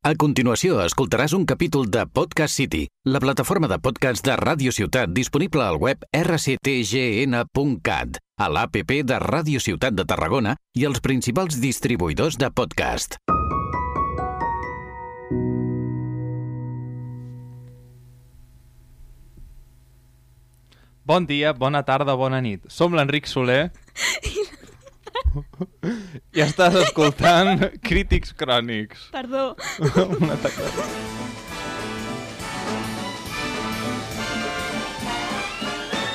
A continuació escoltaràs un capítol de Podcast City, la plataforma de podcast de Ràdio Ciutat disponible al web rctgn.cat, a l'APP de Ràdio Ciutat de Tarragona i els principals distribuïdors de podcast. Bon dia, bona tarda, bona nit. Som l'Enric Soler. I estàs escoltant Crítics Crònics. Perdó. Una tecla.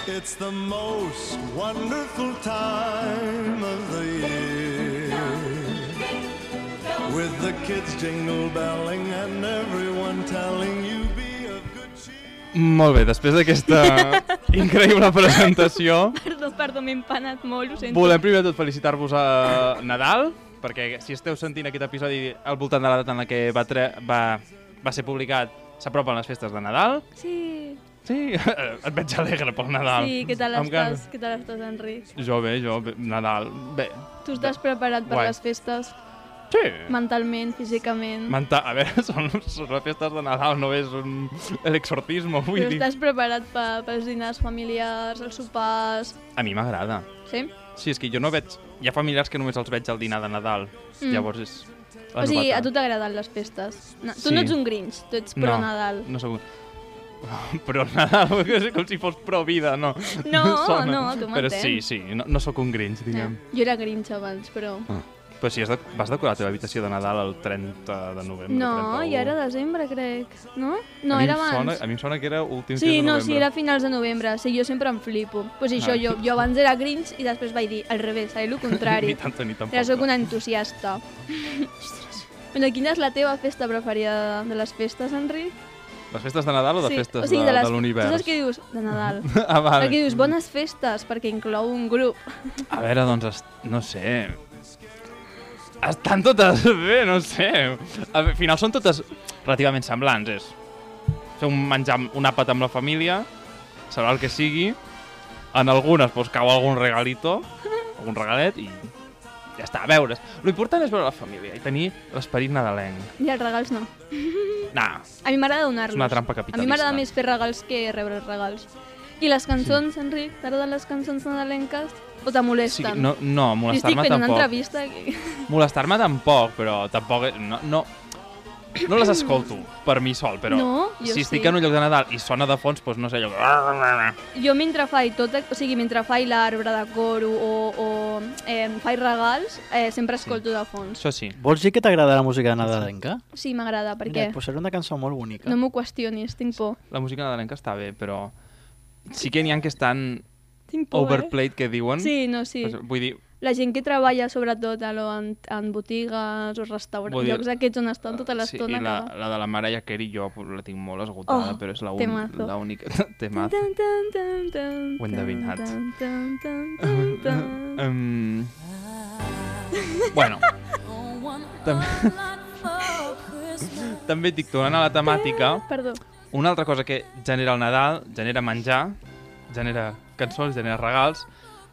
It's the most wonderful time of the year. With the kids jingle belling and everyone telling you be of good cheer. Molt bé, després d'aquesta increïble presentació, Perdó, perdó, m'he empanat molt, ho sento. volem primer de tot felicitar-vos a Nadal, perquè si esteu sentint aquest episodi al voltant de la data en la que va, tre va, va ser publicat, s'apropen les festes de Nadal. Sí, Sí, et veig alegre pel Nadal. sí, què tal Em can- estàs? Què tal estàs, Enric? Jo bé, jo bé, Nadal, bé. Tu estàs preparat per Guai. les festes? Sí. Mentalment, físicament? Manta, a veure, són, són les festes de Nadal, no és un l'exorcisme, vull Però dir. estàs preparat pe pels dinars familiars, els sopars... A mi m'agrada. Sí? Sí, és que jo no veig... Hi ha familiars que només els veig al dinar de Nadal. Mm. Mm. Llavors és... la o sigui, novetat. a tu t'agraden les festes. No, eh? tu Sí. no ets un grinch, tu ets pro Nadal. No sóc un... Però Nadal, és com si fos pro vida, no. No, Sona. no, tu Però m'entens. sí, sí, no, no sóc un grinch, diguem. Eh, Jo era grinch abans, però... Ah. Però sí, has de, vas decorar la teva habitació de Nadal el 30 de novembre. No, 31. ja era desembre, crec. No? A No, mi em era abans. Sona, a mi em sona que era últim Sí, dia de no, novembre. sí, era a finals de novembre. Sí, jo sempre em flipo. Pues això, Ah. jo, jo abans era Grinch i després vaig dir al revés, seré el contrari. Ni tanto, ni tampoc. Ara sóc una entusiasta. Bueno, quina és la teva festa preferida de les festes, Enric? Les festes de Nadal o de festes o sigui, de, de, les... de l'univers? Tu saps què dius? De Nadal. Ah, vale. Perquè dius bones festes, perquè inclou un grup. A veure, doncs, es- no sé... Estan totes bé, no sé. Al final són totes relativament semblants, és fer un menjar, un àpat amb la família, serà el que sigui, en algunes doncs, cau algun regalito, algun regalet i ja està, a veure's. L'important és veure la família i tenir l'esperit nadalenc. I els regals no. Nah, A mi m'agrada donar-los. És una trampa A mi capitalista. m'agrada més fer regals que rebre els regals. I les cançons, Enric? T'agraden les cançons nadalenques? O te sí, molesten? no, no Jo estic molestar-me fent una tampoc. entrevista aquí. Molestar-me tampoc, però tampoc... No, no, no les escolto per mi sol, però No, jo si estic sí. en un lloc de Nadal i sona de fons, doncs no sé, allò... Jo mentre faig tot, o sigui, mentre faig l'arbre de coro o, o eh, faig regals, eh, sempre escolto de fons. Això sí. Vols dir que t'agrada la música nadalenca? Sí, m'agrada, perquè Mira, et posaré una cançó molt bonica. no m'ho qüestionis, tinc por. La música nadalenca està bé, però sí que n'hi ha que estan Tinc por, overplayed, que eh? diuen. Sí, no, sí. Doncs Vull dir, La gent que treballa sobretot a lo, en, en botigues o restaurants, Vull dir- eh, llocs aquests on estan tota sí, l'estona. i la, que- la de la Mariah Carey jo la tinc molt esgotada, Oh, però és la un- temazo. l'única... Tan, Temazo. tan, tan, tan, tan, Ho he endevinat. tan, tan, tan, tan, tan. um, bueno, també, també et dic, tornant a la temàtica, Perdó. Una altra cosa que genera el Nadal, genera menjar, genera cançons, genera regals,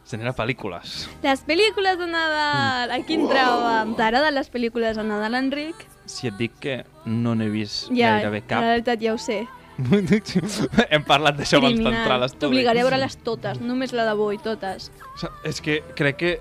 genera pel·lícules. Les pel·lícules de Mm. Nadal! Aquí entràvem. T'agraden les pel·lícules de Nadal, Enric? Si et dic que no n'he vist Ja, gairebé La cap... veritat ja ho sé. Hem parlat d'això abans d'entrar a Criminal. l'estudi. T'obligaré a veure-les totes, només la d'avui, totes. Sa- És que crec que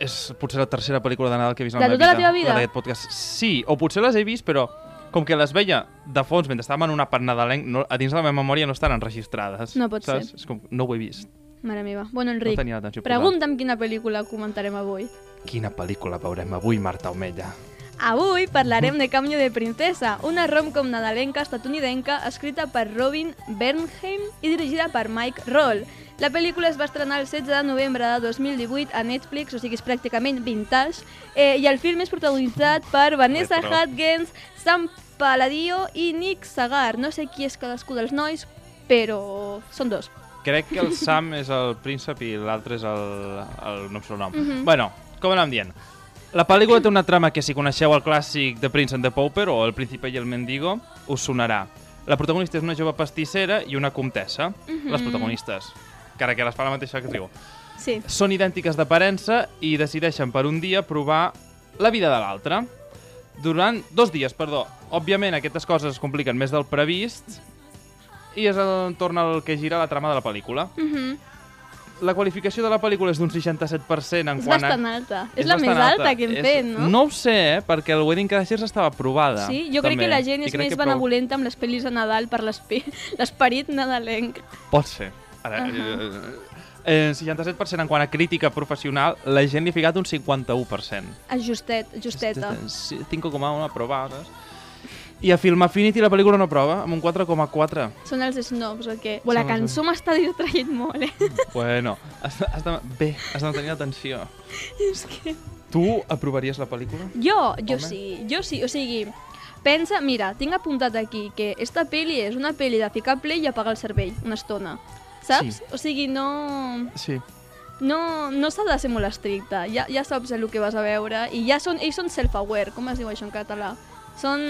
és potser la tercera pel·lícula de Nadal que he vist en De la meva tota la vida. teva vida? en Aquest podcast. Sí, o potser les he vist, però com que les veia de fons mentre estàvem en una part nadalenc, no, a dins de la meva memòria no estan enregistrades. No pot saps? ser. És com, no ho he vist. Mare meva. Bueno, Enric, tenia l'atenció posada. pregunta'm quina pel·lícula comentarem avui. Quina pel·lícula veurem avui, Marta Omella? Avui parlarem de Cambio de Princesa, una rom-com nadalenca estatunidenca escrita per Robin Bernheim i dirigida per Mike Roll. La pel·lícula es va estrenar el 16 de novembre de 2018 a Netflix, o sigui, és pràcticament vintage, eh, i el film és protagonitzat per Vanessa Retro. Hudgens, Sam Palladio i Nick Sagar. No sé qui és cadascú dels nois, però són dos. Crec que el Sam és el príncep i l'altre és el, el no em surt el nom. Bueno, com anàvem dient? La pel·lícula té una trama que si coneixeu el clàssic de Prince and the Pauper o El príncipe i el mendigo, us sonarà. La protagonista és una jove pastissera i una comtessa, les protagonistes, encara que les fa la mateixa actriu. Sí. Són idèntiques d'aparença i decideixen per un dia provar la vida de l'altra. durant dos dies, perdó. Òbviament, aquestes coses es compliquen més del previst i és entorn al que gira la trama de la pel·lícula. Mhm. La qualificació de la pel·lícula és d'un 67% en És quant bastant a... alta. És, la més bastant alta, que hem És- fet, no? No ho sé, eh, perquè el Wedding Crashers estava aprovada. Sí, jo crec també. que la gent I és crec més que prou- benevolenta amb les pel·lis de Nadal per l'espe- l'esperit nadalenc. Pot ser. Ara, uh eh, eh, 67% en quant a crítica professional, la gent li ha ficat un 51%. Ah, Justet, justeta. Sí, 5,1 aprovades. I a Film Affinity la pel·lícula no prova, amb un 4,4. Són els snobs o què? Bo, la Són els cançó m'està distraient molt, eh? Bueno, has de, has de, bé, has de mantenir l'atenció. És que... Tu aprovaries la pel·lícula? Jo, jo Home. sí, jo sí, o sigui... Pensa, mira, tinc apuntat aquí que esta pel·li és una pel·li de ficar play i apagar el cervell una estona. Saps? Sí. O sigui, no... Sí. No, no s'ha de ser molt estricte. Ja, ja saps el que vas a veure i ja són, ells són self-aware, com es diu això en català? Són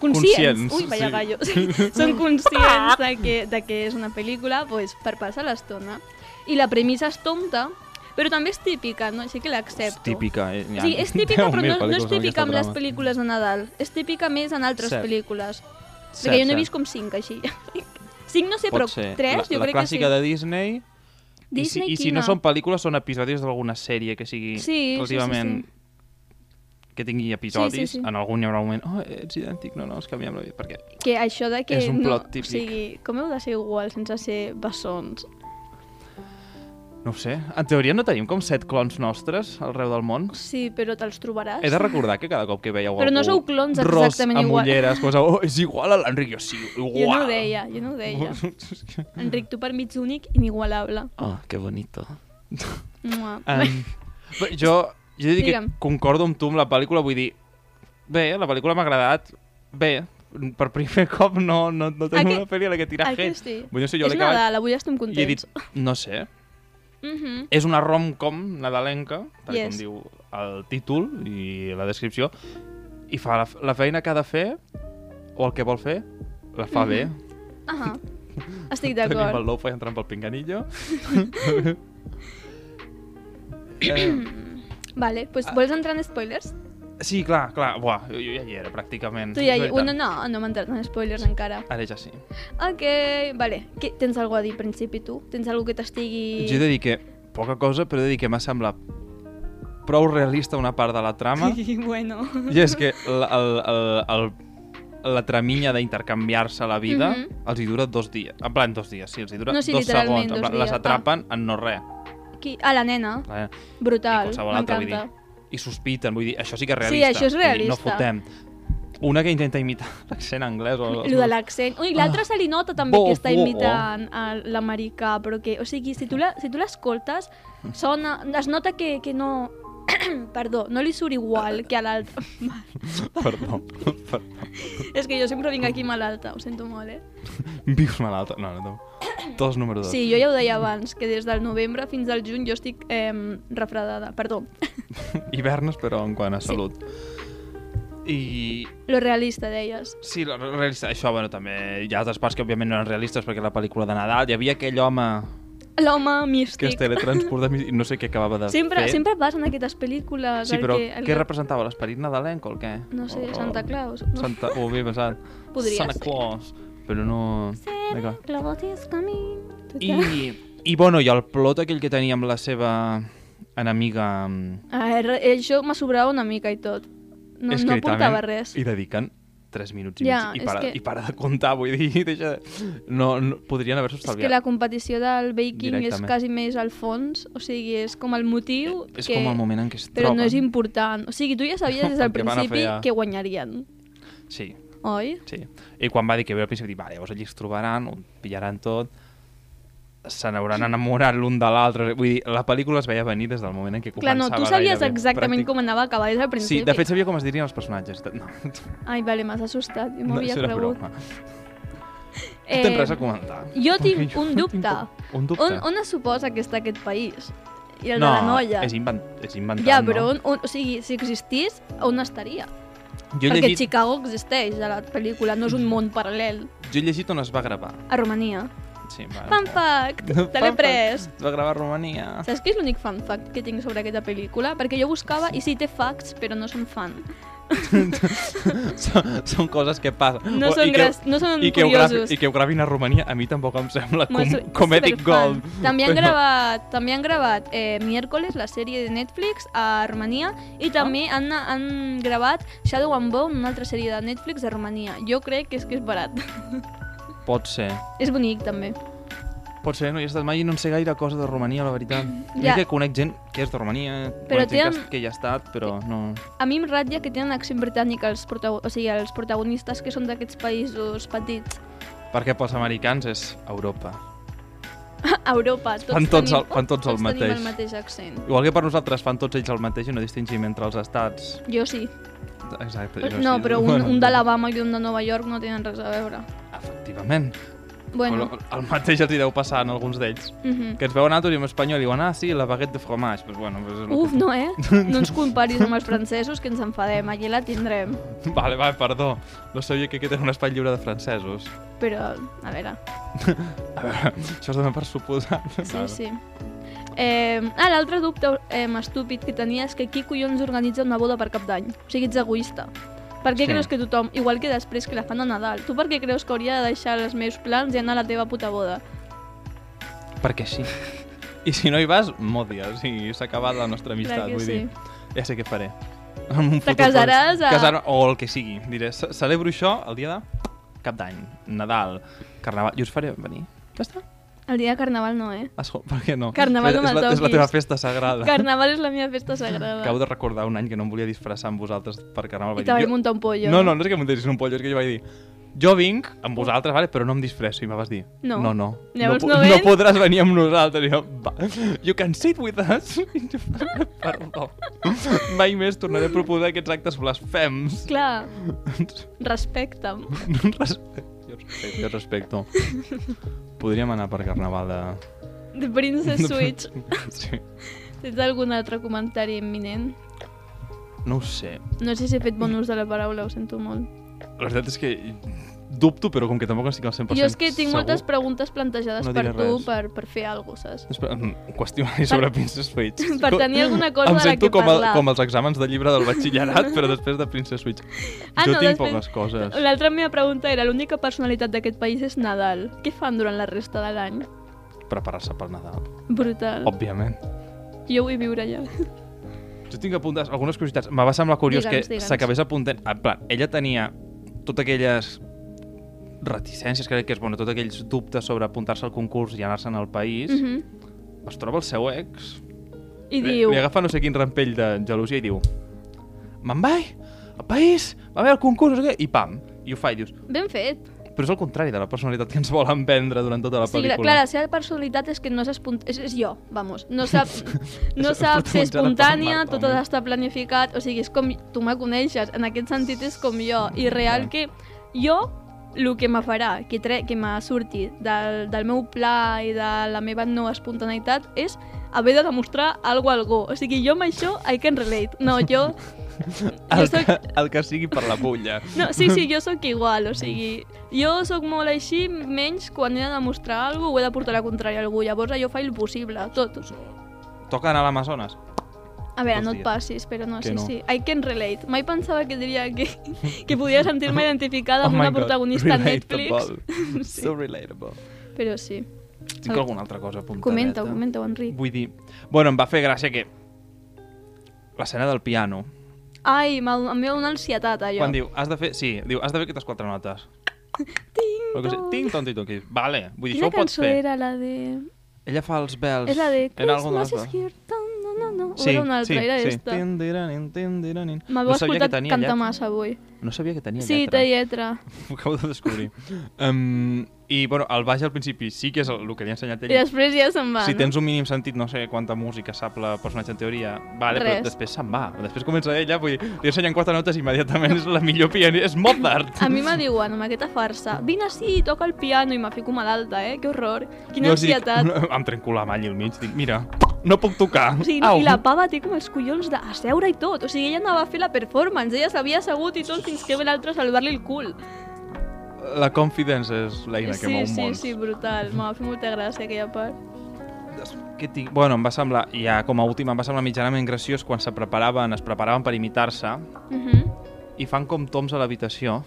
conscients. Conscients, Ui, vaya sí. gallo. Sí. són conscients de que, de que és una pel·lícula pues, per passar l'estona. I la premissa és tonta, però també és típica, no? així que És l'accepto. típica. Eh? Sí, és típica, però no, no és típica amb les pel·lícules. pel·lícules de Nadal. És típica més en altres Cert. pel·lícules. Perquè jo n'he vist com cinc, així. cinc no sé, però tres, la, jo la crec que sí. clàssica de Disney, i si, Disney, i si quina? no són pel·lícules, són episodis d'alguna sèrie que sigui Sí, sí, relativament... sí, que tingui episodis, sí. en algun hi haurà un moment oh, ets idèntic, no, no, es canviem la vida, perquè Que això de que És un no, plot típic. O sigui, com heu de ser igual sense ser bessons? no ho sé, en teoria no tenim com set clons nostres arreu del món Sí, però te'ls trobaràs. He de recordar que cada cop que veieu Però no algú sou clones ros exactament amb igual. ulleres, poseu, oh, és igual a l'Enric, jo sí, igual. Jo no ho deia, jo no ho deia. Enric, tu per mig únic, inigualable. Oh, que bonito. Mua. Um, però jo, jo he de dir que Digue'm. concordo amb tu amb la pel·lícula, vull dir, bé, la pel·lícula m'ha agradat, bé, per primer cop no, no, no tenim que- una pel·li a la que tirar Aquí hate. sí. Vull dir, si jo és l'he acabat Nadal, avui estem i he dit, contents. no sé, Mhm. és una rom-com nadalenca, tal yes. Yes. com diu el títol i la descripció, i fa la, la feina que ha de fer, o el que vol fer, la fa mm -hmm. bé. Ahà. Estic Tenim el Mhm, d'acord. Lofa entrant pel pinganillo. Vale, pues, vols entrar en spoilers? Eh, Ah. Sí, clar, clar. Buah, jo, jo ja hi era, pràcticament. Tu ja... És hi- veritat. No, no, no m'he entrat en spoilers encara. Ara ja sí. Ok, vale. Què, tens alguna a dir, al principi, tu? Tens alguna que t'estigui... Jo he de dir que poca cosa, però he de dir que m'ha semblat prou realista una part de la trama. Sí, bueno. I és que la, el, el, el, la traminya d'intercanviar-se la vida Mhm. els hi dura dos dies. En plan, dos dies, sí, els hi dura No, sí, dos literalment, segons. En dos plan, dies. Les atrapen en no res. Qui? Ah, la nena. Clar, I Brutal, qualsevol altre, vull dir. m'encanta. I sospiten, vull dir, això sí que és Sí, realista. això és Vull dir, realista. No fotem. Una que intenta imitar l'accent anglès. O... Lo de l'accent. Ui, l'altre Ah. se li nota també Bo, que està bo. imitant a l'americà, però que... O sigui, si tu la- si tu l'escoltes, sona... Es nota que, que no... Perdó, no li surt igual que a l'altre. Perdó, perdó. És que jo sempre vinc aquí malalta, ho sento molt, eh? Vius malalta. No, no, no. Tos número dos. Sí, jo ja ho deia abans, que des del novembre fins al juny jo estic eh, refredada. Perdó. Hivernes, però en quant a salut. I Lo realista, deies. sí, la la realista, això, bueno, també hi ha altres parts que òbviament no eren realistes perquè la pel·lícula de Nadal hi havia aquell home L'home que es místic. teletransporta i no sé què acabava de Sempre, fer. sempre vas en aquestes pel·lícules. Sí, el però que, el què que- representava? L'esperit nadalenc o el què? No sé, O- Santa Claus. No. Santa... Ho havia pensat. Podria Santa ser. Claus. Però no... D'acord. Claus is coming. to town. I, I, bueno, i el plot aquell que tenia amb la seva enemiga... mm, Ah, re- això m'ha sobrat una mica i tot. No, és que no literalment portava res. Hi dediquen 3 minuts i Ja, mig i és para, que- i para de comptar, vull dir, deixa... No, no podrien haver-s'ho És que estalviat. la competició del baking és Directament. Eh, quasi més al fons, o sigui, és com el motiu És que... com el moment en què es Però troben. no és important. O sigui, tu ja sabies des del El que van a principi fer a- que guanyarien, Sí, oi? sí. I quan va dir que ve al principi, dic, vale, llavors allí es trobaran, ho pillaran tot, se n'hauran enamorat l'un de l'altre. Vull dir, la pel·lícula es veia venir des del moment en què Clar, començava. no, tu sabies gairebé, exactament pràctic- com anava a acabar des del principi. Sí, de fet sabia com es dirien els personatges. No, Ai, vale, m'has assustat. Jo no m'havia això era cregut. broma. Eh... No tens res a comentar. jo tinc Perquè un no tinc dubte. cap- Un dubte? On, on es suposa que està aquest país? I el no, de la noia. és, invent, és inventat, Ja, però no? on, on, o sigui, si existís, on estaria? Jo he, Perquè llegit, Chicago existeix a la pel·lícula, no és un món paral·lel. jo he llegit on es va gravar. A Romania. Sí, va, Fun fact! Ah, Fun Te l'he pres! Es va gravar a Romania. Saps què és l'únic fun fact que tinc sobre aquesta pel·lícula? Perquè jo buscava i sí té facts, però no són fan. són, són coses que passen. No O- són Oh, i que- gras- no són i que, ho gravi, curiosos. I que ho gravin a Romania a mi tampoc em sembla Bueno, com, soy comedic superfan. gold. També han Però- gravat, també han gravat eh, miércoles la sèrie de Netflix a Romania i també Ah. han, han gravat Shadow and Bone, una altra sèrie de Netflix a Romania. Jo crec que és que és barat. Pot ser. és bonic també. Pot ser, no hi he estat mai i no en sé gaire cosa de Romania, la veritat. Mm. Ja. Ja. que conec gent que és de Romania, Però conec gent que, tenen- has- que hi ha estat, però no... A mi em ratlla que tenen accent britànic els, prota- o sigui, els protagonistes que són d'aquests països petits. Perquè pels americans és Europa. A Europa, tots, Fan tots tenim, el- fan tots el tenim el mateix. mateix accent. Igual que per nosaltres fan tots ells el mateix i no distingim entre els estats. Jo sí. Exacte. jo No, sí. però un, Bueno, un d'Alabama i un de Nova York no tenen res a veure. Efectivament. Bueno, Bueno. El mateix els hi deu passar en alguns d'ells. mhm. Que ens veuen altres i en espanyol i diuen, ah, sí, la baguette de fromage. Pues bueno, pues és el Uf, que- no, eh? No ens comparis amb els francesos, que ens enfadem. Aquí la tindrem. Vale, vale, perdó. No sabia que aquest era un espai lliure de francesos. Però, a veure, A veure, això es dona per suposar. sí, sí. Eh, ah, l'altre dubte eh, estúpid que tenia és que qui collons organitza una boda per cap d'any? O sigui, ets egoista. Per què Sí. sí. creus que tothom, igual que després que la fan a Nadal, tu per què creus que hauria de deixar els meus plans i anar a la teva puta boda? Perquè sí. I si no hi vas, m'odies i s'ha acabat la nostra amistat, que vull sí. dir. Ja sé què faré. En un Te futur casaràs a- Casar o el que sigui. Diré, "Ce- celebro això el dia de cap d'any, Nadal, Carnaval... I us faré venir. Ja està. El dia de Carnaval no, eh? Esco, per què no? Carnaval no és, me'l la, és la toquis. teva festa sagrada. Carnaval és la meva festa sagrada. Acabo de recordar un any que no em volia disfressar amb vosaltres per Carnaval. I Vaig te dir, vaig "Jo- muntar un pollo. No, no, no és que m'entessis un pollo, és que jo vaig dir jo vinc amb vosaltres, vale, però no em disfresso. I me vas dir, No. no, no, Llavors po- no no vens?" podràs venir amb nosaltres. I jo, va, you can sit with us. I jo, Perdó. Mai més tornaré a proposar aquests actes blasfems. Clar, respecta'm. jo respecto, jo respecto. Podríem anar per carnaval de... The Princess Switch. Sí. Tens algun altre comentari imminent? No ho sé. No sé si he fet bon ús de la paraula, ho sento molt. La veritat és que dubto, però com que tampoc estic al 100% Jo és que tinc segur, moltes preguntes plantejades No per diré tu res. per, per fer alguna cosa, saps? Espera, un qüestionari sobre Princess Switch. per tenir alguna cosa em de la sento que com, parlar. com els exàmens de llibre del batxillerat, però després de Princess Switch. Ah, jo tinc poques coses. L'altra meva pregunta era, l'única personalitat d'aquest país és Nadal. Què fan durant la resta de l'any? Preparar-se per Nadal, Brutal. òbviament. Jo vull viure allà. Jo tinc apuntades algunes curiositats. Me va semblar curiós Digue'ns, que digue'ns. s'acabés apuntant... En plan, ella tenia totes aquelles reticències, crec que és bueno, tots aquells dubtes sobre apuntar-se al concurs i anar-se'n al país, mm Mhm. -hmm. es troba el seu ex, I li, diu... li agafa no sé quin rampell de gelosia i diu me'n vaig al país, va haver el concurs, no sé què", i pam, i ho fa i dius Ben fet. Però és el contrari de la personalitat que ens volen vendre durant tota la Sí, pel·lícula. clar, clar, la seva personalitat és que no és, espunt... és, és jo, vamos. No sap, no És protagonitzada sap ser per espontània, Marc tot Home. ha d'estar planificat, o sigui, és com tu me coneixes, en aquest sentit és com jo, i real que jo el que me farà, que, tre que me surti del, del meu pla i de la meva no espontaneïtat és haver de demostrar alguna cosa a algú. O sigui, jo amb això I can relate. No, jo... jo El, soc, que, el que sigui per la pulla. no, sí, sí, jo sóc igual, o sigui, jo sóc molt així, menys quan he de demostrar alguna cosa ho he de portar la contrària a algú, llavors jo faig el possible, tot. Toca anar a l'Amazones. A veure, Dos no et dies. passis, però no, Que sí, no. sí, I can relate. Mai pensava que diria que, que podia sentir-me identificada amb Oh my una God, protagonista Netflix, relatable. So relatable. però sí. Tinc El- alguna altra cosa apuntadeta. Comenta, comenta, Enric. Vull dir... Bueno, em va fer gràcia que... L'escena del piano. Ai, m'ha- em va donar ansietat, allò. Quan diu, has de fer... Sí, diu, has de fer aquestes quatre notes. Ting, Però que sí, tong. tinc tonto i toquis. Vale, vull dir, Quina això ho pots cançó fer. era la de... Ella fa els bells. És la de Era algo Christmas is dels- here, dun, dun, dun, dun. O Sí, era una altra, sí, era sí. esta. Tindiranin, tindiranin. M'haveu sabia que escoltat tenia cantar lletra. massa avui. No sabia que tenia Sí, lletra. té lletra. Ho acabo de descobrir. um, I, bueno, el baix al principi sí que és el, el que li ha ensenyat ell. I després ja se'n va, si no? tens un mínim sentit, no sé quanta música sap la personatge en teoria, vale, Res. però després se'n va. Després comença ella, vull dir, li ensenyen quatre notes i immediatament és la millor pianista. És Mozart! A mi me diuen, amb aquesta farsa, vine així, toca el piano i me fico malalta, eh? Que horror. Quina Jo dic, ansietat. no, em trenco la mà allà al mig, dic, mira, no puc tocar. O sigui, Au. I la pava té com els collons de seure i tot. O sigui, ella anava a fer la performance, ella s'havia assegut i tot fins que ve l'altre a salvar-li el cul. la confidence és l'eina que Sí, mou sí, mons. sí, brutal. M'ha fet molta gràcia aquella part. Què tinc? Bueno, em va semblar, ja com a última, em va semblar mitjanament graciós quan se preparaven, es preparaven per imitar-se, Mhm. i fan com toms a l'habitació,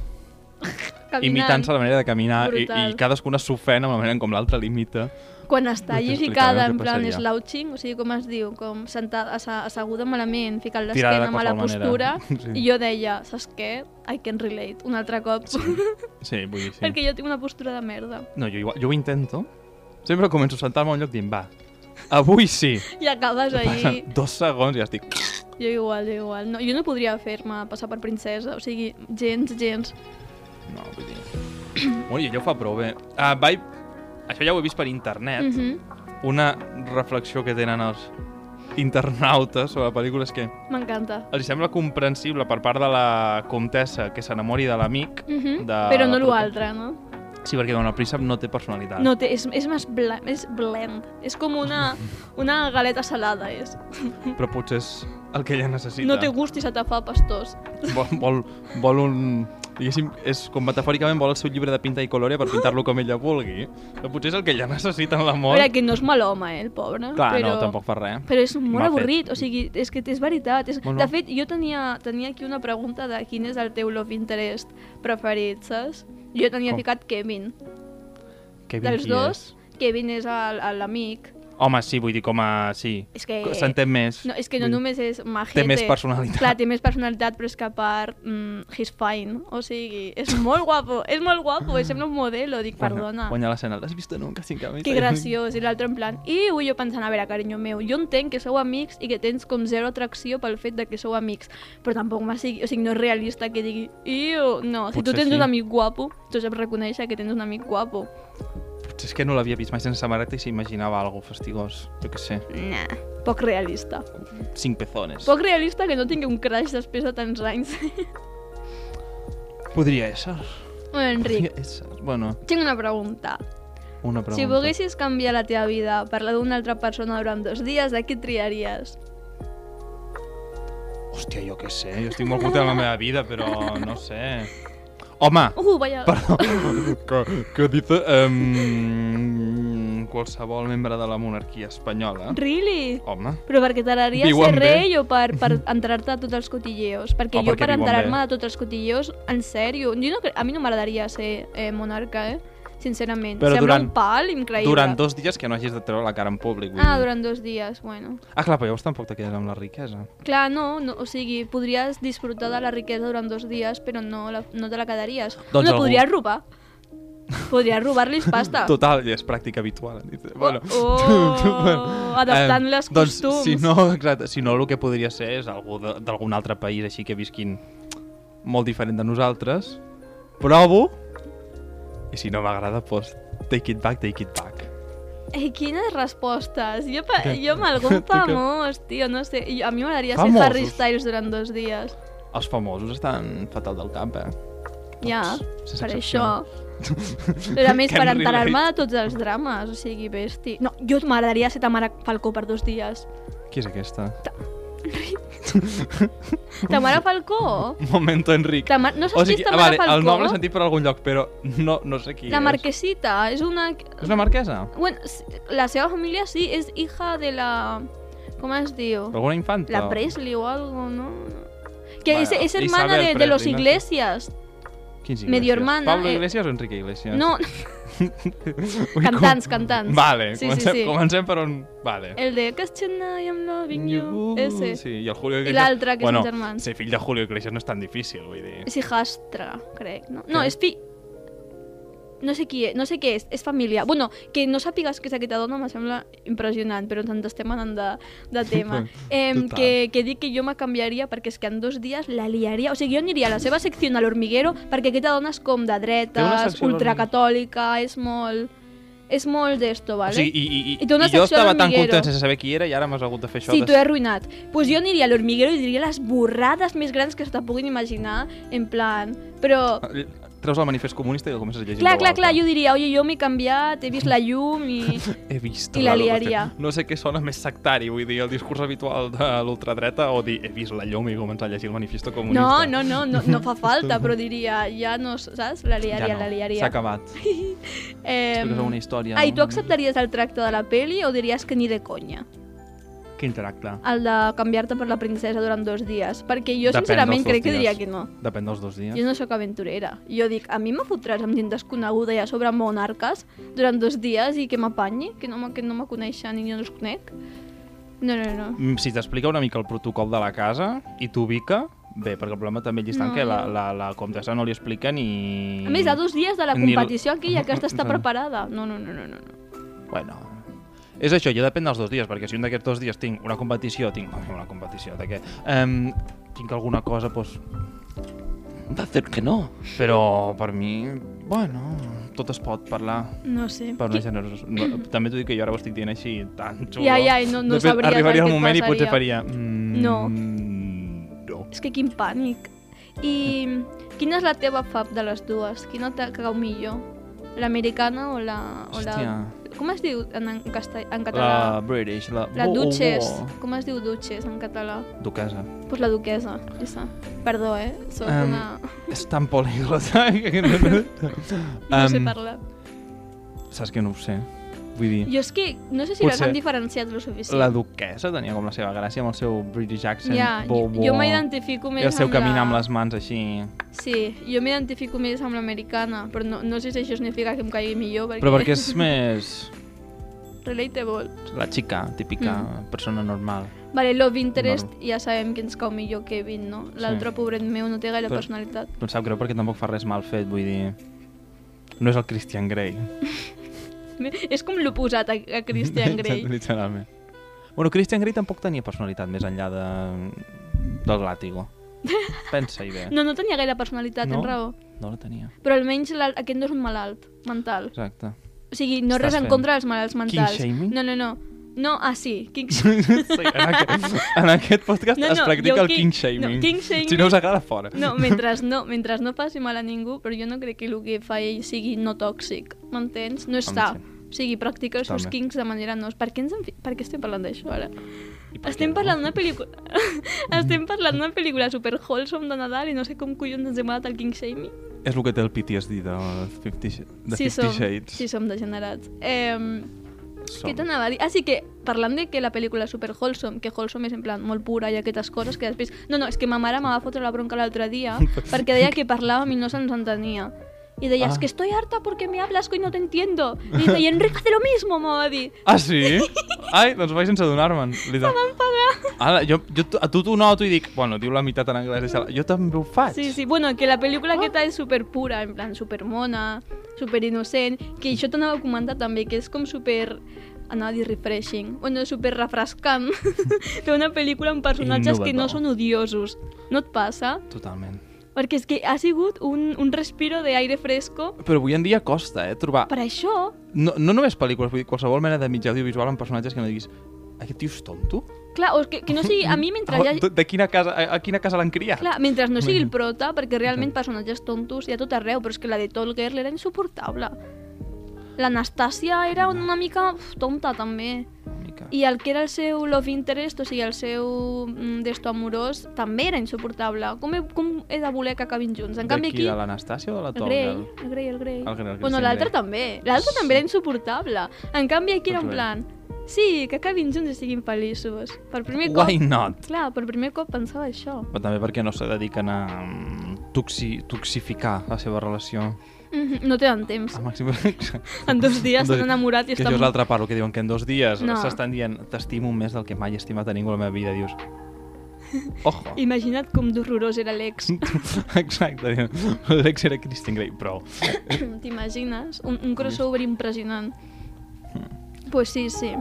Caminant. imitant-se la manera de caminar i, Brutal. i cadascuna s'ofèn amb la manera en com l'altra l'imita. Quan està Després lligada, explicarem en eh, què plan passaria. slouching, o sigui, com es diu, com sentada, assa- asseguda malament, Tirada ficant de l'esquena a mala qualsevol postura, manera. Sí. i jo deia, saps què? I can relate, un altre cop, sí. Sí, vull dir, sí. perquè jo tinc una postura de merda. No, jo, igual, jo ho intento. Sempre començo a sentar-me a un lloc dient, va, avui sí. I acabes ahir, Passen dos segons i ja estic... jo igual, jo igual. No, jo no podria fer-me passar per princesa, o sigui, gens, gens. No, vull dir... bueno, i allò ho fa prou bé. Uh, vaig... Això ja ho he vist per internet. Mm Mm -hmm. Una reflexió que tenen els internautes sobre pel·lícules que M'encanta. els sembla comprensible per part de la comtessa que s'enamori de l'amic Mm de... Però no la prota- l'altre, no? Sí, perquè Dona Príncep no té personalitat. No, té, és, és més bla, és blend. És com una, una galeta salada, és. Però potser és el que ella necessita. No té gust i se te fa pastós. vol, vol, vol un... Diguéssim, és com metafòricament vol el seu llibre de pinta i coloria per pintar-lo com ella vulgui. Però potser és el que ella necessita en A l'amor. veure, que no és mal home, eh, el pobre. Clar, però... no, tampoc fa res. Però és molt Mal fet. avorrit, o sigui, és que és veritat. És... Molt De mal. fet, jo tenia, tenia aquí una pregunta de quin és el teu love interest preferit, saps? Jo tenia Com? ficat Kevin. Kevin Dels qui dos, és? Kevin és el- el- l'amic. Home, sí, vull dir, com a... Sí. És que... S'entén més. Eh, No, és que Vull no dir, només és majete. Té més personalitat. Clar, té més personalitat, però és que a part, mm, he's fine. O sigui, és molt guapo, és molt guapo, i sembla un modelo. Dic, perdona, Guanya, guanya l'escena. L'has vist nunca, sin camisa? que graciós. I l'altre en plan, i ui, jo pensant, a veure, carinyo meu, jo entenc que sou amics i que tens com zero atracció pel fet de que sou amics, però tampoc m'ha sigui, o sigui, no és realista que digui, iu, no, si tu Potser sí. tens un amic guapo, tu saps reconèixer que tens un amic guapo. Potser és que no l'havia vist mai sense samarreta i s'imaginava algo fastigós. Jo què sé. Nah, poc realista. Cinc pezones. Poc realista que no tingui un crush després de tants anys. Podria ser. bueno, Enric, Podria ser. Bueno, tinc una pregunta. una pregunta. Si poguessis canviar la teva vida per la d'una altra persona durant dos dies, a qui triaries? Hòstia, jo què sé. Jo estic molt content amb la meva vida, però no sé. Home, Uh, vaya... Perdó. que, que dice... Um, qualsevol membre de la monarquia espanyola. Really? Home. Però perquè t'agradaria Viuen bé. ser rei o per, per entrar-te a tots els cotilleos? Perquè Oh, jo perquè per viuen entrar-me bé. de tots els cotilleos, en sèrio, jo no, cre- a mi no m'agradaria ser eh, monarca, eh? Sincerament. Però Sembla durant- un pal increïble. Durant dos dies que no hagis de treure la cara en públic. Vull Ah, dir. durant dos dies, bueno. ah, clar, però llavors tampoc te quedes amb la riquesa. Clar, no, no o sigui, podries disfrutar de la riquesa durant dos dies, però no, la, no te la quedaries. Doncs la algú- podries robar. Podries robar-los pasta. Total, ja és pràctica habitual. Dice, Bueno, Ah. Oh, oh, adaptant em, les doncs, costums. Si no, exacte, si no, el que podria ser és algú de- d'algun altre país així que visquin molt diferent de nosaltres. Provo. I si no m'agrada, doncs take it back, take it back. Ei, Eh, quines respostes! Jo, pa, Què? jo amb algun Tu què? famós, tio, no sé. Jo, a mi m'agradaria ser Famosos? Harry Styles durant dos dies. Els famosos estan fatal del cap, eh? Ja, sense per excepció. això. Però a més, Can per relate. enterar-me de tots els drames, o sigui, besti. No, jo m'agradaria ser Tamara Falcó per dos dies. Qui és aquesta? Tamara Falcó? Momento Enric. Tamar... No saps O sigui, qui és Tamara vale, Falcó? el nom l'he sentit per algun lloc, però no, no sé qui La és. Marquesita, és una... És una marquesa? Bueno, s- la seva família sí, és hija de la... Com es diu? Alguna infanta? La Presley o algo, ¿no? Que Bueno, es, es hermana Isabel de, de los Presley, no sé. Iglesias. Quins Iglesias? medio hermana, Pablo eh. Iglesias o Enrique Iglesias? No, Ui, cantants, cantants. Vale, Sí, sí, comencem, sí. comencem per on... Vale. El de Castilla, I'm loving you. Uh, Ese. Sí, i el Julio I Iglesias... l'altre, que bueno, és un germà. ser fill de Julio Iglesias no és tan difícil, vull dir. És hijastra, crec. No, no Què? és fi... No sé qui és, no sé què és, és família. Bueno, que no sàpigues que és aquesta dona em sembla impressionant, però ens en estem anant de, de tema. Em, Total. que, que dic que jo me canviaria perquè és que en dos dies la liaria. O sigui, jo aniria a la seva secció a l'Hormiguero perquè aquesta dona és com de dretes, secció a l'Hormiguero. ultracatòlica, és molt... És molt d'esto, vale? O sigui, i, i, I i, té una jo secció a estava tan l'Hormiguero. content sense saber qui era i ara m'has hagut de fer això Sí, t'ho he de... arruïnat. Doncs pues jo aniria a l'Hormiguero i diria les borrades més grans que se te puguin imaginar, en plan... Però... Treus el manifest comunista i el comences a llegir en Clar, veu clar, clar, alta. jo diria, oye, jo m'he canviat, he vist la llum i... He vist I la l'algo liaria. que- No sé què sona més sectari, vull dir, el discurs habitual de l'ultradreta o dir he vist la llum i començar a llegir el manifesto comunista. No, no, no, no, no fa falta, però diria, ja no, saps? La Ja liaria, no, la liaria. S'ha acabat. Eh, Expliques alguna història. Ai, tu no? acceptaries el tracte de la peli o diries que ni de conya? Quin tracte. el de canviar-te per la princesa durant dos dies, perquè jo Depèn sincerament dels dos crec que diria dies. que no. Depèn dels dos dies. Jo no sóc aventurera. Jo dic, a mi me fotràs amb gent desconeguda i a sobre amb monarques durant dos dies i que m'apanyi, que no, me- que no me coneixen i jo no els conec. No, no, no. Mm, Si t'explica una mica el protocol de la casa i t'ubica, bé, perquè el problema també llistant No, no, que la, no. la, la comtessa no li explica ni... Mm. A més, a dos dies de la Ni el- competició aquella, aquesta està Exacte. preparada. No, no, no, no, no. no. Bueno, és això, ja depèn dels dos dies, perquè si un d'aquests dos dies tinc una competició, tinc ai, una competició, de què? Um, tinc alguna cosa, doncs... Va fer que no. Però per mi, bueno, tot es pot parlar. No sé. Per una generosa... No, també t'ho dic que jo ara ho estic dient així, tan xulo. Ja, ja, i no- no De fet, sabries el Arribaria que el moment passaria. i potser faria... Mm, No. No. És que quin pànic. I quina és la teva fab de les dues? Quina te cau millor? L'americana o la... O la... Hòstia. Com es diu en, en, castell, en La català? British, la... La, Wo- wo- wo. Duchess. Com es diu Duchess en català? Duquesa. Pues la duquesa, esa. Perdó, eh? Soc Em, una... És tan poliglota que... no- No sé Em, parlar. Saps que no ho sé. Vull dir... Jo és que no sé si les potser han diferenciat lo suficient. La duquesa tenia com la seva gràcia amb el seu British accent. Ja, bo, jo, bo, jo m'identifico I més el seu amb caminar la... amb les mans així... Sí, jo m'identifico més amb l'americana, però no, no sé si això significa que em caigui millor, perquè... Però perquè és més... Relatable. La xica, típica Mm. persona normal. Vale, Love Interest ja sabem que ens cau millor Kevin, no? L'altre, Sí. pobret meu, no té gaire Però- personalitat. Em Doncs sap greu perquè tampoc fa res mal fet, vull dir... No és el Christian Grey. És com l'oposat a, a Christian Grey. Literalment. Bueno, Christian Grey tampoc tenia personalitat més enllà de... del làtigo. Pensa-hi bé. No, no tenia gaire personalitat, No. tens raó. No la tenia. Però almenys la- aquest no és un malalt mental. Exacte. O sigui, no Estàs res en fent contra dels malalts mentals. shaming? No, no, no. No, ah, sí. King sí, en, aquest, en aquest podcast no, No, no, no, es practica jo el qui- king shaming. no, king shaming- Si no us agrada, fora. No, mentre no, mentre no faci mal a ningú, però jo no crec que el que fa ell sigui no tòxic. M'entens? No Em està. sent. O sigui, practica els seus Totalment. kinks de manera no... Per què, ens en fi... per què estem parlant d'això ara? I per Estem què parlant d'una pel·lícula... estem parlant d'una pel·lícula super wholesome de Nadal i no sé com collons ens hem anat al King Shaming. És el que té el PTSD de 50, Sh- de 50 sí, som, Shades. sí, som degenerats. Eh, som. Què t'anava a dir? Ah, sí, que parlant de que la pel·lícula és super wholesome, que wholesome és en plan molt pura i aquestes coses, que després... No, no, és que ma mare me va fotre la bronca l'altre dia perquè deia que parlàvem i no se'ns entenia. I deia, Ah. es que estoy harta porque me hablas y no te entiendo. I dice, y Enrique hace lo mismo, me va dir. Ah, sí? Ai, doncs vaig sense adonar-me'n. Se van pagar. Ara, jo, jo t- a tu t'ho noto i dic, bueno, diu la meitat en anglès. Deixa jo també ho faig. Sí, sí, bueno, que la Ah. pel·lícula aquesta és super pura, en plan super mona, super innocent, que això t'anava a comentar també, que és com super anava a dir refreshing, bueno, super refrescant fer una pel·lícula amb personatges que no Innovador. són odiosos. No et passa? Totalment. Perquè és que ha sigut un, un respiro d'aire fresco Però avui en dia costa, eh, trobar... per això. No, no només pel·lícules, vull dir, qualsevol mena de mitjà audiovisual amb personatges que no diguis aquest tio és tonto? Clar, o que, que no sigui... A mi, mentre Ah, ja... de, de quina casa, a, a quina casa l'han criat? Clar, mentre no sigui el prota, perquè realment personatges tontos hi ha a tot arreu, però és que la de Tolger era insuportable. L'Anastàcia era una mica uf, tonta, també. Una mica. I el que era el seu love interest, o sigui, el seu mm, desto amorós, també era insuportable. Com he, com he de voler que acabin junts? En canvi, D'aquí, aquí... De l'Anastàcia o de la El Tolga? Grey, el Grey, el Grey. El Grey, el bueno, Christian l'altre Grey. també. L'altre també era insuportable. En canvi, aquí era en Tots bé. plan... Sí, que acabin junts i siguin feliços. Per primer cop... Why not? Clar, per primer cop pensava això. Però també perquè no se dediquen a mm, toxi, toxificar la seva relació. Mhm, No tenen temps. Al màxim... Estan En dos dies s'han enamorat Que i això estan... és l'altra part, el que diuen que en dos dies No. no. s'estan dient t'estimo més del que mai he estimat a ningú a la meva vida. Dius, ojo. I... Imagina't com d'horrorós era l'ex. Exacte. diuen, L'ex era Christian Grey, però... T'imagines? Un, un crossover impressionant. Pues sí, sí.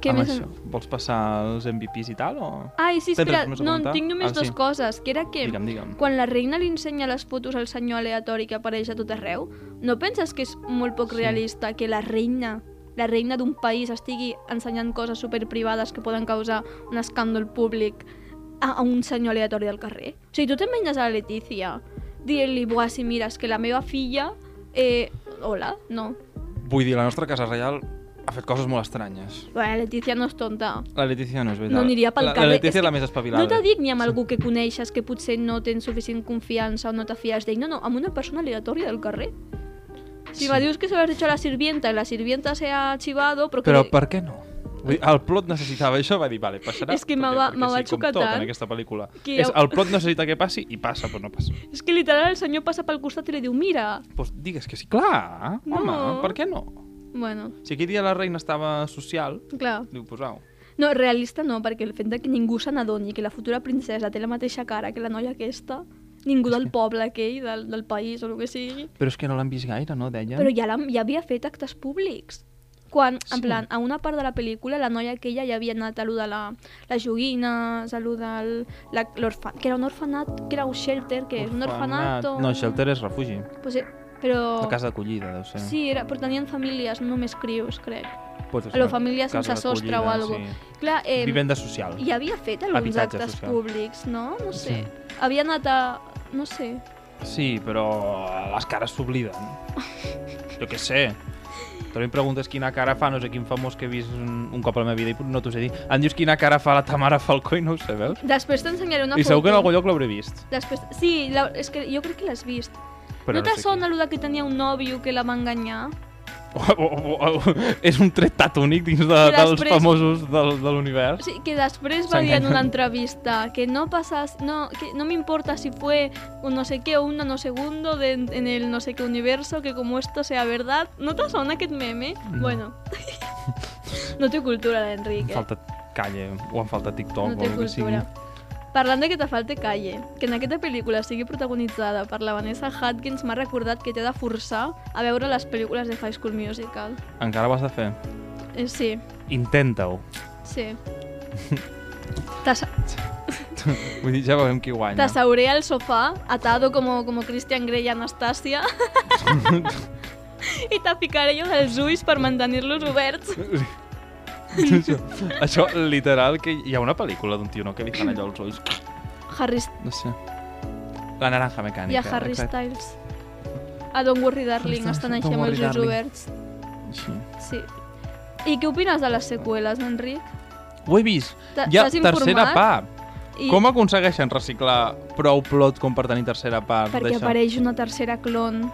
Què amb més... en- Hmm. això, vols passar els MVPs i tal, o...? Ai, sí, Tens espera, res més a no, en comentar? tinc només Ah, dues sí. coses, que era que Digue'm, digue'm. quan la reina li ensenya les fotos al senyor aleatori que apareix a tot arreu, no penses que és molt poc Sí. realista que la reina la reina d'un país estigui ensenyant coses superprivades que poden causar un escàndol públic a, a un senyor aleatori del carrer? O sigui, tu t'emmenyes a la Letícia dient-li, buah, si mira, és que la meva filla... Eh, hola, no. Vull dir, la nostra Casa Reial ha fet coses molt estranyes. Bueno, la Letícia no és tonta. La Letícia no és veritat. No aniria pel la, carrer. La Letícia que és la més espavilada. No t'ha dit ni amb algú que coneixes que potser no tens suficient confiança o no te fies d'ell. No, no, amb una persona aleatòria del carrer. Si Sí. me dius que se lo has hecho a la sirvienta y la sirvienta se ha chivado, pero que... Però per què no? Vull dir, el plot necessitava això, va dir, vale, passarà. És que perquè- me va- perquè me va sí, com xocar tot tant en aquesta pel·lícula. que És, jo- el plot necessita que passi i passa, però no passa. És que literal el senyor passa pel costat i li diu, mira. Doncs digues que sí, clar, No. home, per què no? Bueno, Si aquell dia la reina estava social, clar. diu, posau. No, realista no, perquè el fet de que ningú se n'adoni que la futura princesa té la mateixa cara que la noia aquesta, ningú del poble aquell, del, del país o el que sigui, Però és que no l'han vist gaire, no, deien? però ja, la, ja havia fet actes públics. Quan, en Sí. plan, a una part de la pel·lícula, la noia aquella ja havia anat a lo de la, les joguines, a lo del... La, l'orfa- que era un orfanat, que era un shelter, que és un orfanat o... No, shelter és refugi. Pues, eh, però... La casa eh. d'acollida, deu ser. Sí, era, però tenien famílies, no només crios, crec. Pot a la família sense casa sostre d'acollida, o algo. Sí. Clar, eh, Vivenda social. I havia fet alguns Habitatge actes social. públics, no? No sé. Sí. Havia anat a... no sé. Sí, però les cares s'obliden. Jo què sé. Tu em preguntes quina cara fa no sé quin famós que he vist un, un cop a la meva vida i no t'ho sé dir. Em dius quina cara fa la Tamara Falcó i no ho sé, veus? Després t'ensenyaré una I foto. segur que en algun lloc l'hauré vist. Després... Sí, la... és que jo crec que l'has vist. Però no no sé t'assona no que tenia un nòvio que la va enganyar? O, o, o, o, és un tret tan únic dins de, I dels després- famosos del, de O l'univers. sigui, que després va dir en una S'enganyen. entrevista que no pasas, no, que no me importa si fue un no sé qué o un nanosegundo de, en el no sé qué universo, que como esto sea verdad, ¿no te suena aquest meme? No. Bueno, no té cultura Em l'Enric, eh? falta calle, o em falta TikTok, no o té el que sigui. cultura. Parlant de que te falte calle, que en aquesta pel·lícula sigui protagonitzada per la Vanessa Hudgens m'ha recordat que t'he de forçar a veure les pel·lícules de High School Musical. Encara ho has de fer. Eh, sí, Intenta-ho. sí. T'assa- Vull dir, ja veurem qui guanya. T'asseuré al sofà, atado como, como Christian Grey i Anastasia, i te ficaré jo dels ulls per mantenir-los oberts. això, això, literal, que hi ha una pel·lícula d'un tio, no?, que li fan allò als ulls. Harry No sé. La naranja i mecànica. a Harry exacte. Styles. A Don't Worry Darling Don't estan així amb Worry els ulls Darling. oberts. Sí. Sí. I què opines de les seqüeles, Enric? Ho he vist. T'ha- Hi ha t'has tercera informat? part. I Com aconsegueixen reciclar prou plot com per tenir tercera part perquè d'això? apareix una tercera clon.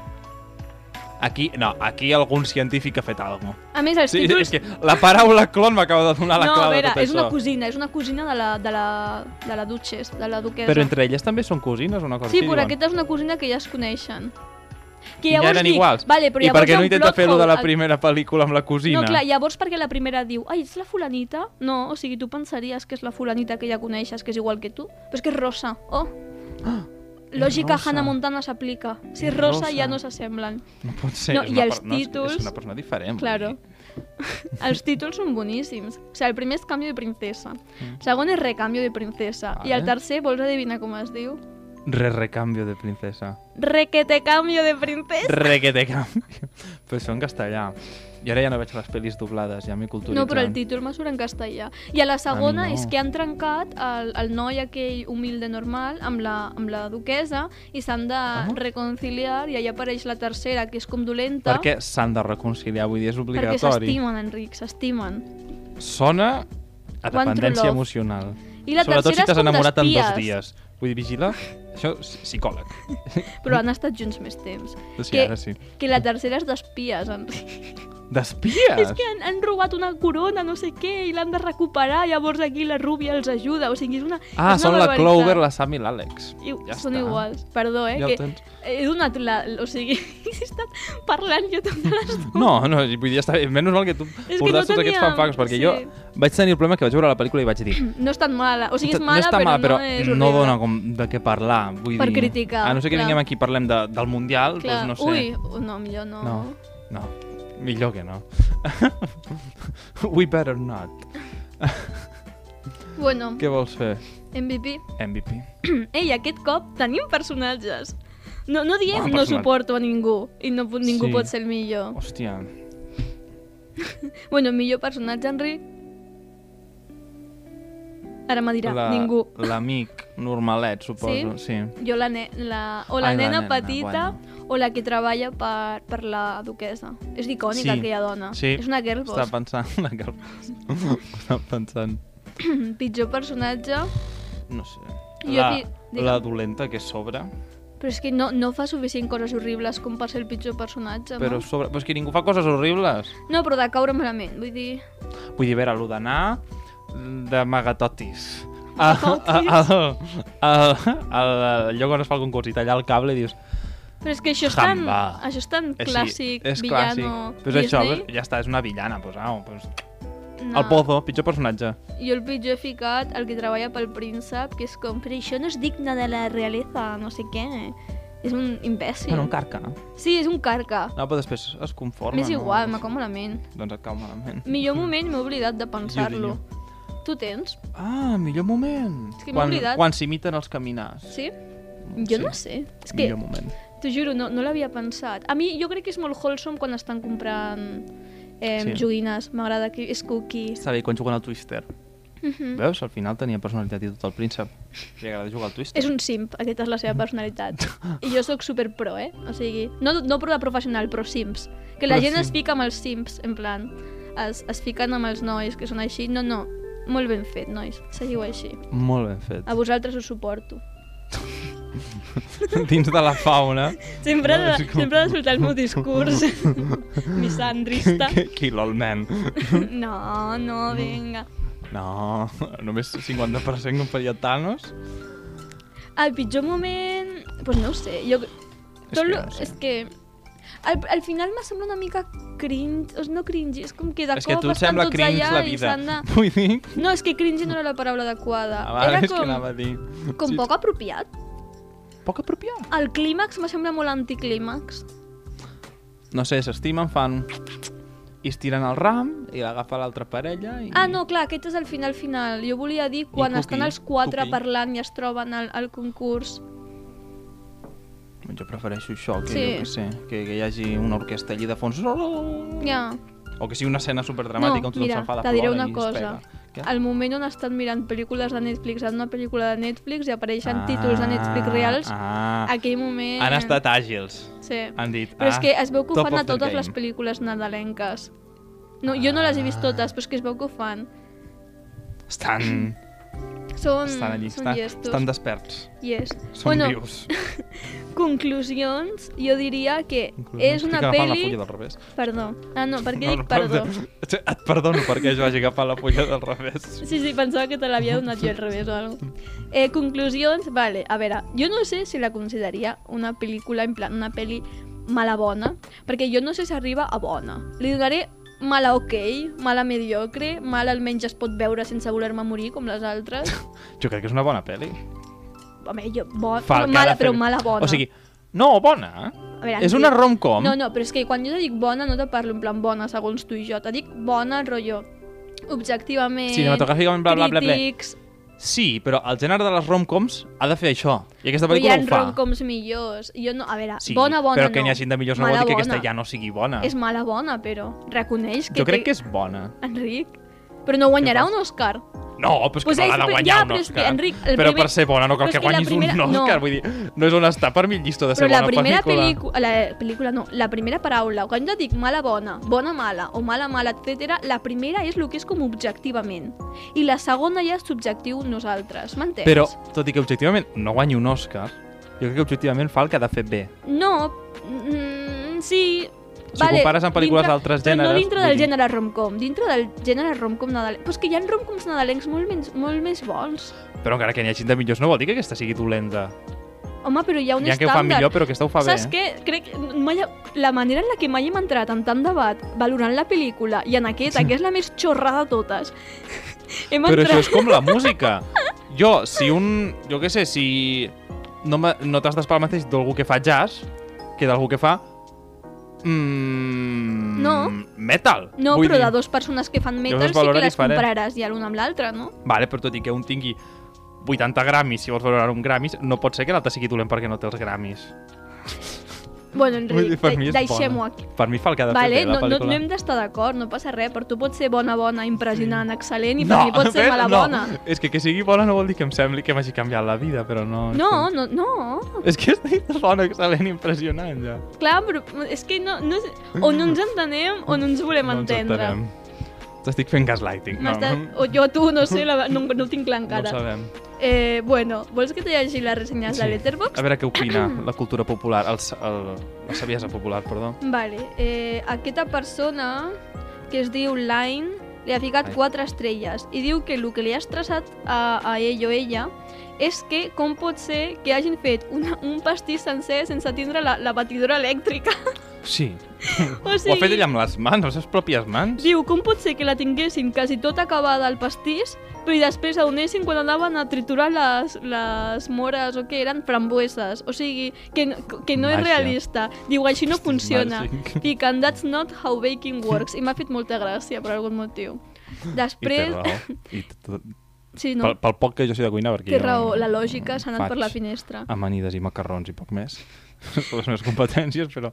Aquí, no, aquí algun científic ha fet alguna cosa. A més, els Sí, títols... és que la paraula clon m'acaba de donar la no, a clau veure, de tot és una això. cosina, és una cosina de la, de la, de la Duchess, de la duquesa. Però entre elles també són cosines o una cosa Sí, així, però diuen? aquesta és una cosina que ja es coneixen. Que I ja llavors eren dic, iguals. Vale, però I per llavors hi què ha no un intenta plot fer-ho hole. de la primera pel·lícula amb la cosina? No, clar, llavors perquè la primera diu Ai, ets la fulanita? No, o sigui, tu pensaries que és la fulanita que ja coneixes, que és igual que tu. Però és que és rosa. Oh! Lògica Ah, rosa. Hannah Montana s'aplica. Si És és rosa, rosa. ja no s'assemblen. No pot ser. No, és i una els per- no, és que títols- És una persona diferent. Claro. Els títols són boníssims. O sigui, el primer és Canvio de princesa. El segon és Recambio de princesa. I el Mm. Vale. tercer, vols adivinar com es diu? Re-recambio de princesa. Requete cambio de princesa. Re-que-te-cambio. Però això en castellà. I ara ja no veig les pel·lis doblades, ja m'he culturitzat. No, però el títol me surt en castellà. I a la segona A mi no. és que han trencat el, el noi aquell humilde normal amb la, amb la duquesa i s'han de Ah. reconciliar i allà apareix la tercera, que és com dolenta. Perquè s'han de reconciliar, vull dir, és Perquè obligatori. s'estimen, Enric, s'estimen. Sona a One true dependència love. emocional. I la Sobretot si tercera és t'has com enamorat en dos d'espies. dies. Vull dir, vigila, això és psicòleg. Però han estat junts més temps. Doncs Sí, que, ara sí. que la tercera és d'espies, Enric. D'espies! És que han, han robat una corona, no sé què, i l'han de recuperar, llavors aquí la rúbia els ajuda, o sigui, és una Ah, és una són la barbaritat. Clover, la Sam i l'Àlex. I, Ja són està. iguals, perdó, eh? Ja que el tens. He donat la... O sigui, he estat parlant jo tota l'estona. No, no, vull dir, ja està bé. Menys mal que tu que portes no tots tenia- aquests fanfacts, perquè sí. jo vaig tenir el problema que vaig veure la pel·lícula i vaig dir No és tan mala. O sigui, és mala, no està però, mal, però no és no horrible. dona com de què parlar. Vull Per dir, criticar, A no sé que clar. vinguem aquí i parlem de, del Mundial, Clar, doncs no sé. Ui, oh, no, millor no. No, no. Millor que no. We better not. Bueno, Què vols fer? MVP. MVP. Ei, aquest cop tenim personatges. No, no diem Bon no personatge. suporto a ningú i no, po- ningú Sí. pot ser el millor. Hòstia. Bueno, millor personatge, Enric? Ara me dirà, la- ningú. L'amic normalet, suposo. Sí? sí. Jo la, ne la, o la Ai, la nena nena, petita o la que treballa per, per la duquesa. És icònica Sí, aquella dona. sí. És una girl Està boss. pensant. La Girl Boss. Està pensant. Pitjor personatge, No sé. Jo la, fi- digue'm. la dolenta que sobra. Però és que no, no fa suficient coses horribles com per ser el pitjor personatge, Però, no? sobre... però és que ningú fa coses horribles. No, però de caure malament, vull dir... Vull dir, a veure, allò d'anar d'amagatotis. A, a, a, a, a, al lloc on es fa el concurs i tallar el cable i dius... Però és que això és tan, Jamba. això és tan "Eh, sí, clàssic, és villano, clàssic. Però és això, Disney. Ah. ja està, és una villana, pues, au, pues, No. El Pozo, pitjor personatge. Jo el pitjor he ficat, el que treballa pel príncep, que és com, però això no és digne de la realesa, no sé què. És un Sí. imbècil. Bueno, un carca. No, Sí, és un carca. però després es conforma. M'és igual, no? me cau malament. Doncs et cau malament. Millor moment m'he oblidat de pensar-lo. Tu tens? Ah, millor moment. És que m'he quan, oblidat. Quan s'imiten els caminars. Sí? Jo no sé. És que, Mm, Millor moment. t'ho juro, no, no l'havia pensat. A mi jo crec que és molt wholesome quan estan comprant eh, Sí. joguines. M'agrada que és cookie. Està bé, quan juguen al Twister. Mhm. Veus? Al final tenia personalitat i tot el príncep. Li agrada jugar al Twister. És un simp, aquesta és la seva personalitat. I jo sóc super pro, eh? O sigui, no, no pro de professional, però simps. Que la Però gent es simp. fica amb els simps, en plan, es, es fiquen amb els nois que són així. No, no, molt ben fet, nois, seguiu així. Molt ben fet. A vosaltres us suporto. Dins de la fauna. Sempre, No, no, és com- sempre ha de soltar el meu discurs misandrista. Que- Kill all men. No, no, vinga. No, només 50% em faria Thanos. El pitjor moment... Doncs pues no ho sé, jo... És Tot que lo... no ho sé. És que... Al, al final me sembla una mica cringe, o sigui, no cringe, és com que de És que a cop tu et estan sembla tots cringe allà la i vida. s'han de... Vull dir... No, és que cringe no era la paraula adequada. Ah, vale, era és que com, anava a dir... com Sí, poc apropiat. Poc apropiat. El clímax me sembla molt anticlímax. No sé, s'estimen, fan... I es tiren el ram, i l'agafa l'altra parella, i... Ah, no, clar, aquest és el final final. Jo volia dir quan cookie, estan els quatre cookie. parlant i es troben al, al concurs. Jo prefereixo això, que Sí. jo què sé, que, que hi hagi una orquestra allí de fons... Ja. O que sigui una escena superdramàtica No, on tothom mira, s'enfada te diré plora una i es cosa. pega. Què? El moment on estan mirant pel·lícules de Netflix en una pel·lícula de Netflix i apareixen Ah, títols de Netflix reals, Ah, aquell moment... han estat àgils. Sí. Han dit... Però ah, és que es veu que ho top fan a of their totes les game. Ah. pel·lícules nadalenques. No, jo no les he vist totes, però és que es veu que ho fan. Estan, Són, estan allí, Mm, són estan, llestos. estan desperts. Yes. Són Bueno, vius. conclusions, jo diria que és Estic una agafant la peli... fulla del revés. Perdó. Ah, no, per què dic perdó. perdó? Et perdono perquè jo hagi agafat la fulla del revés. Sí, sí, pensava que te l'havia donat jo al revés o alguna eh, Conclusions, vale, a veure, jo no sé si la consideraria una pel·lícula, en plan, una pel·li mala bona, perquè jo no sé si arriba a bona. Li donaré mala ok, mala mediocre, mala almenys es pot veure sense voler-me morir, com les altres. Jo crec que és una bona pel·li. Home, jo, bo... Fa el no, que ha de mala, fer. però mala bona. O sigui, no, bona. a veure, és em una dic- rom-com. No, no, però és que quan jo te dic bona no te parlo en plan bona, segons tu i jo. Te dic bona, rotllo, objectivament, Cinematogràficament, bla, bla, bla, bla. crítics... Sí, però el gènere de les rom-coms ha de fer això. I aquesta Però hi pel·lícula ha ho fa. rom-coms millors. Jo no, a veure, Sí, bona, bona, però que no. n'hi hagin de millors no Mala vol dir que bona. aquesta ja no sigui bona. És mala bona, però reconeix que... jo crec té- que és bona. Enric, però no guanyarà Què un Òscar. No, però és que Pues no és- l'ha de però- guanyar ja, un però és que, Òscar. Enric, el però per primer- ser bona no però cal és que que la guanyis primera- un no. Òscar. Vull dir, no és on està per mi llista de ser Però la bona primera pel·lícula. pel·lícula... La pel·lícula no, la primera paraula. Quan jo dic mala bona, bona mala o mala mala, etc, la primera és el que és com objectivament. I la segona ja és subjectiu nosaltres, m'entens? Però, tot i que objectivament no guanyi un Òscar, jo crec que objectivament fa el que ha de fer bé. No, mm, sí... Si ho compares amb pel·lícules d'altres però gèneres, No dintre vull del dir. gènere rom-com, dintre del gènere rom-com nadalenc. Però és que hi ha rom-coms nadalencs molt, menys, molt més bons. Però encara que n'hi hagi de millors no vol dir que aquesta sigui dolenta. Home, però hi ha un Hi ha que ho fan estàndard. millor, però aquesta ho fa Saps bé. què? Crec que mai, la manera en la que mai hem entrat en tant debat valorant la pel·lícula i en aquesta, que és la més xorrada de totes, hem Però això entrat... és com la música. Jo, si un... Jo què sé, si... No, me- no t'has d'esperar el mateix d'algú que fa jazz que d'algú que fa... Mm, No. Metal. No, Vull però dir. de dues persones que fan metal es sí valora que les diferent. compararàs ja l'una amb l'altra, no? Vale, però tot i que un tingui 80 gramis, si vols valorar un gramis, no pot ser que l'altre sigui dolent perquè no té els gramis. Bueno, Vull dir, Enric, per mi és de- deixem-ho bona. aquí. Per mi fa el que ha de Vale, fer bé, la no, no, pel·lícula. no hem d'estar d'acord, no passa res, però tu pots ser bona, bona, impressionant, excel·lent, i per no, mi pots ser ves? mala no. bona. És que que sigui bona no vol dir que em sembli que m'hagi canviat la vida, però no... és No, com- no, no, És que has dit bona, excel·lent, impressionant, ja. clar, però és que no, no és... o no ens entenem o no ens volem No ens entendre. entenem. T'estic fent gaslighting. No, M'estàs- no, O jo tu, no sé, la, no, no ho tinc clar no ho encara. sabem. eh, bueno, vols que te llegi les ressenyes de Letterboxd? A veure què opina la cultura popular, el, sa- el, la saviesa popular, perdó. Vale, eh, aquesta persona que es diu Line li ha ficat Ai. 4 estrelles i diu que el que li ha estressat a, a ell o ella és que com pot ser que hagin fet una, un pastís sencer sense tindre la, la batidora elèctrica. Sí. O Ho sigui, ha fet ella amb les mans, les seves pròpies mans. Diu, com pot ser que la tinguessin quasi tot acabada al pastís, però i després a on anessin quan anaven a triturar les, les mores o què eren frambueses. O sigui, que, no- que no Màgia. és realista. Diu, així no Hosti, funciona. màgic. Fiquen, that's not how baking works. I m'ha fet molta gràcia per algun motiu. I té Després... raó. I t- t- Sí, pel, no, pel poc que jo sé de cuina, perquè té jo raó. La lògica s'ha anat per faig Ah. la finestra. Amanides i macarrons i poc més. Són les meves competències, però...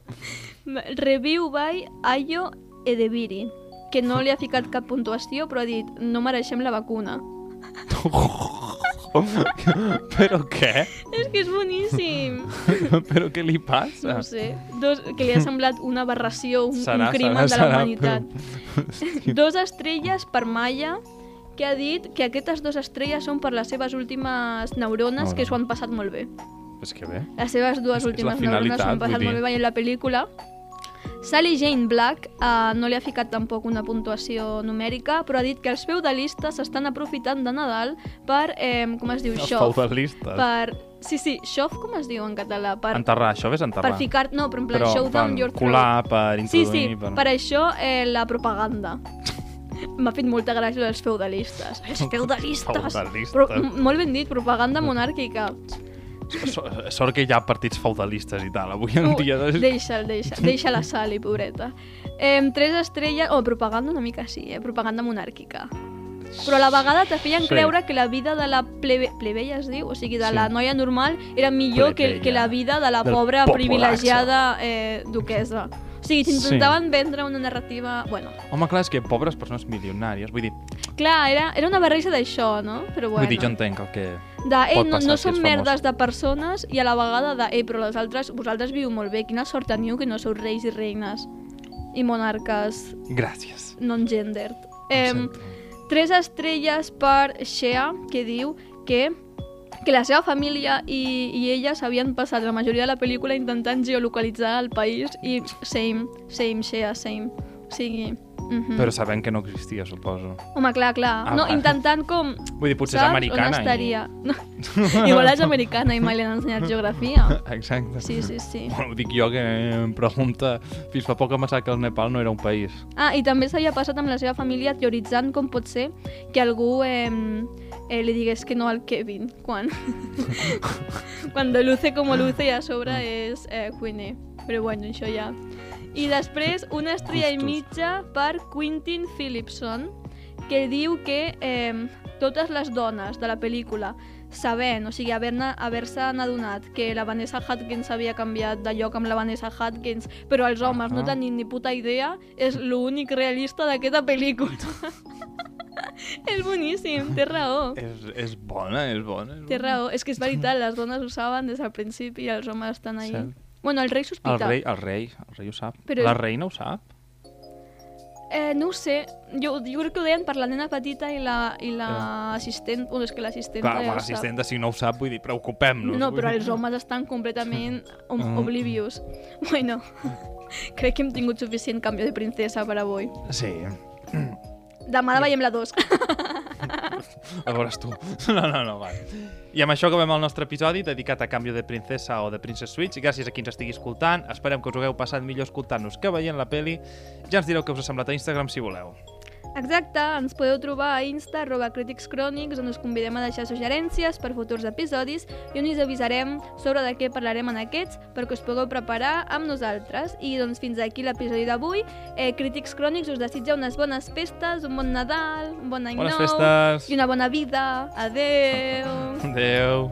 Review by Ayo Edebiri que no li ha ficat cap puntuació, però ha dit no mereixem la vacuna. però què? És que és boníssim! però què li passa? No sé, dos, que li ha semblat una aberració, un, Serà, un crimen serà, de la serà, humanitat. Però... Dos estrelles per Maya, que ha dit que aquestes dues estrelles són per les seves últimes neurones, Neurones. que s'ho han passat molt bé. És que bé. Les seves És que dues és la últimes neurones finalitat, s'ho han passat vull molt dir. bé veient la pel·lícula. Sally Jane Black eh, no li ha ficat tampoc una puntuació numèrica, però ha dit que els feudalistes s'estan aprofitant de Nadal per, eh, com es diu, Els xof. feudalistes. Per... Sí, sí, xof, com es diu en català? Per, Enterrar, això és enterrar. per ficar... No, però en plan, show down per your throat. colar, per Sí, introduir... sí, per... per això eh, la propaganda. M'ha fet molta gràcia els feudalistes. Els feudalistes! Feudalistes. Però, m- molt ben dit, propaganda monàrquica. So- Sort que hi ha partits feudalistes i tal, avui en dia. doncs. Uh, deixa'l, deixa, deixa la Sally, pobreta. Eh, tres estrelles... Oh, propaganda una mica sí, eh? Propaganda monàrquica. Però a la vegada te feien Sí. sí. creure que la vida de la plebe, plebeia, es diu? O sigui, de Sí. sí. la noia normal era millor que, Plebeia. que la vida de la Del pobra popolacho. privilegiada eh, duquesa. O sigui, t'intentaven sí. vendre una narrativa... Bueno, Home, clar, és que pobres persones milionàries, vull dir, bueno. Clar, era, era una barreja d'això, no? Però bueno. vull dir jo entenc el que... de, eh, pot no, passar no si ets són famós." merdes de persones i a la vegada de, eh, però les altres, vosaltres viu molt bé, quina sort teniu que no sou reis i reines i monarques Gràcies. non-gendered. Em Eh, sento. tres estrelles per Shea, que diu que que la seva família i, i ella s'havien passat la majoria de la pel·lícula intentant geolocalitzar el país i same, same, Shea, same. O sigui... mhm. Però sabent que no existia, suposo. Home, clar, clar. Ah, no, vale. intentant com Vull dir, potser és Saps americana. On estaria? No. Igual és americana i mai li han ensenyat geografia. I... Exacte. Sí, sí, sí. Bueno, ho dic jo que em pregunta... Fins fa poc em va pensar que el Nepal no era un país. Ah, i també s'havia passat amb la seva família teoritzant com pot ser que algú eh, eh, li digués que no al Kevin quan, quan luce com luce i a sobre és eh, cuiner. Però bueno, això ja... I després una estrella i Justos. mitja per Quentin Phillipson que diu que eh, totes les dones de la pel·lícula sabent, o sigui, haver-ne- haver-se haver adonat que la Vanessa Hudgens havia canviat de lloc amb la Vanessa Hudgens, però els homes no Ahà. tenien ni puta idea, és l'únic realista d'aquesta pel·lícula. és boníssim, té raó. És, és bona, és bona. És Té raó, és que és veritat, les dones ho saben des del principi i els homes estan ahí. Cert. Bueno, el rei El sospita. rei, el rei, el rei ho sap. Però- Però... La reina ho sap? Eh, no ho sé, jo, jo crec que ho deien per la nena petita i la, i la assistent, bueno, és que l'assistent... Eh. Clar, home, l'assistent de si no ho sap, vull dir, preocupem-nos. No, vull però dir. els homes estan completament ob Mm. oblivious. Bueno, crec que hem tingut suficient canvi de princesa per avui. Sí, Demà la veiem la 2. a veure tu. No, no, no, va. I amb això acabem el nostre episodi dedicat a Canvio de Princesa o de Princess Switch. Gràcies a qui ens estigui escoltant. Esperem que us ho hagueu passat millor escoltant-nos que veient la peli. Ja ens direu què us ha semblat a Instagram si voleu. Exacte, ens podeu trobar a Insta, arroba Crítics Crònics, on us convidem a deixar suggerències per futurs episodis i on us avisarem sobre de què parlarem en aquests perquè us pugueu preparar amb nosaltres. I doncs fins aquí l'episodi d'avui. Eh, Crítics Crònics us desitja unes bones festes, un bon Nadal, un bon any Bones nou festes! i una bona vida. Adeu! Adéu!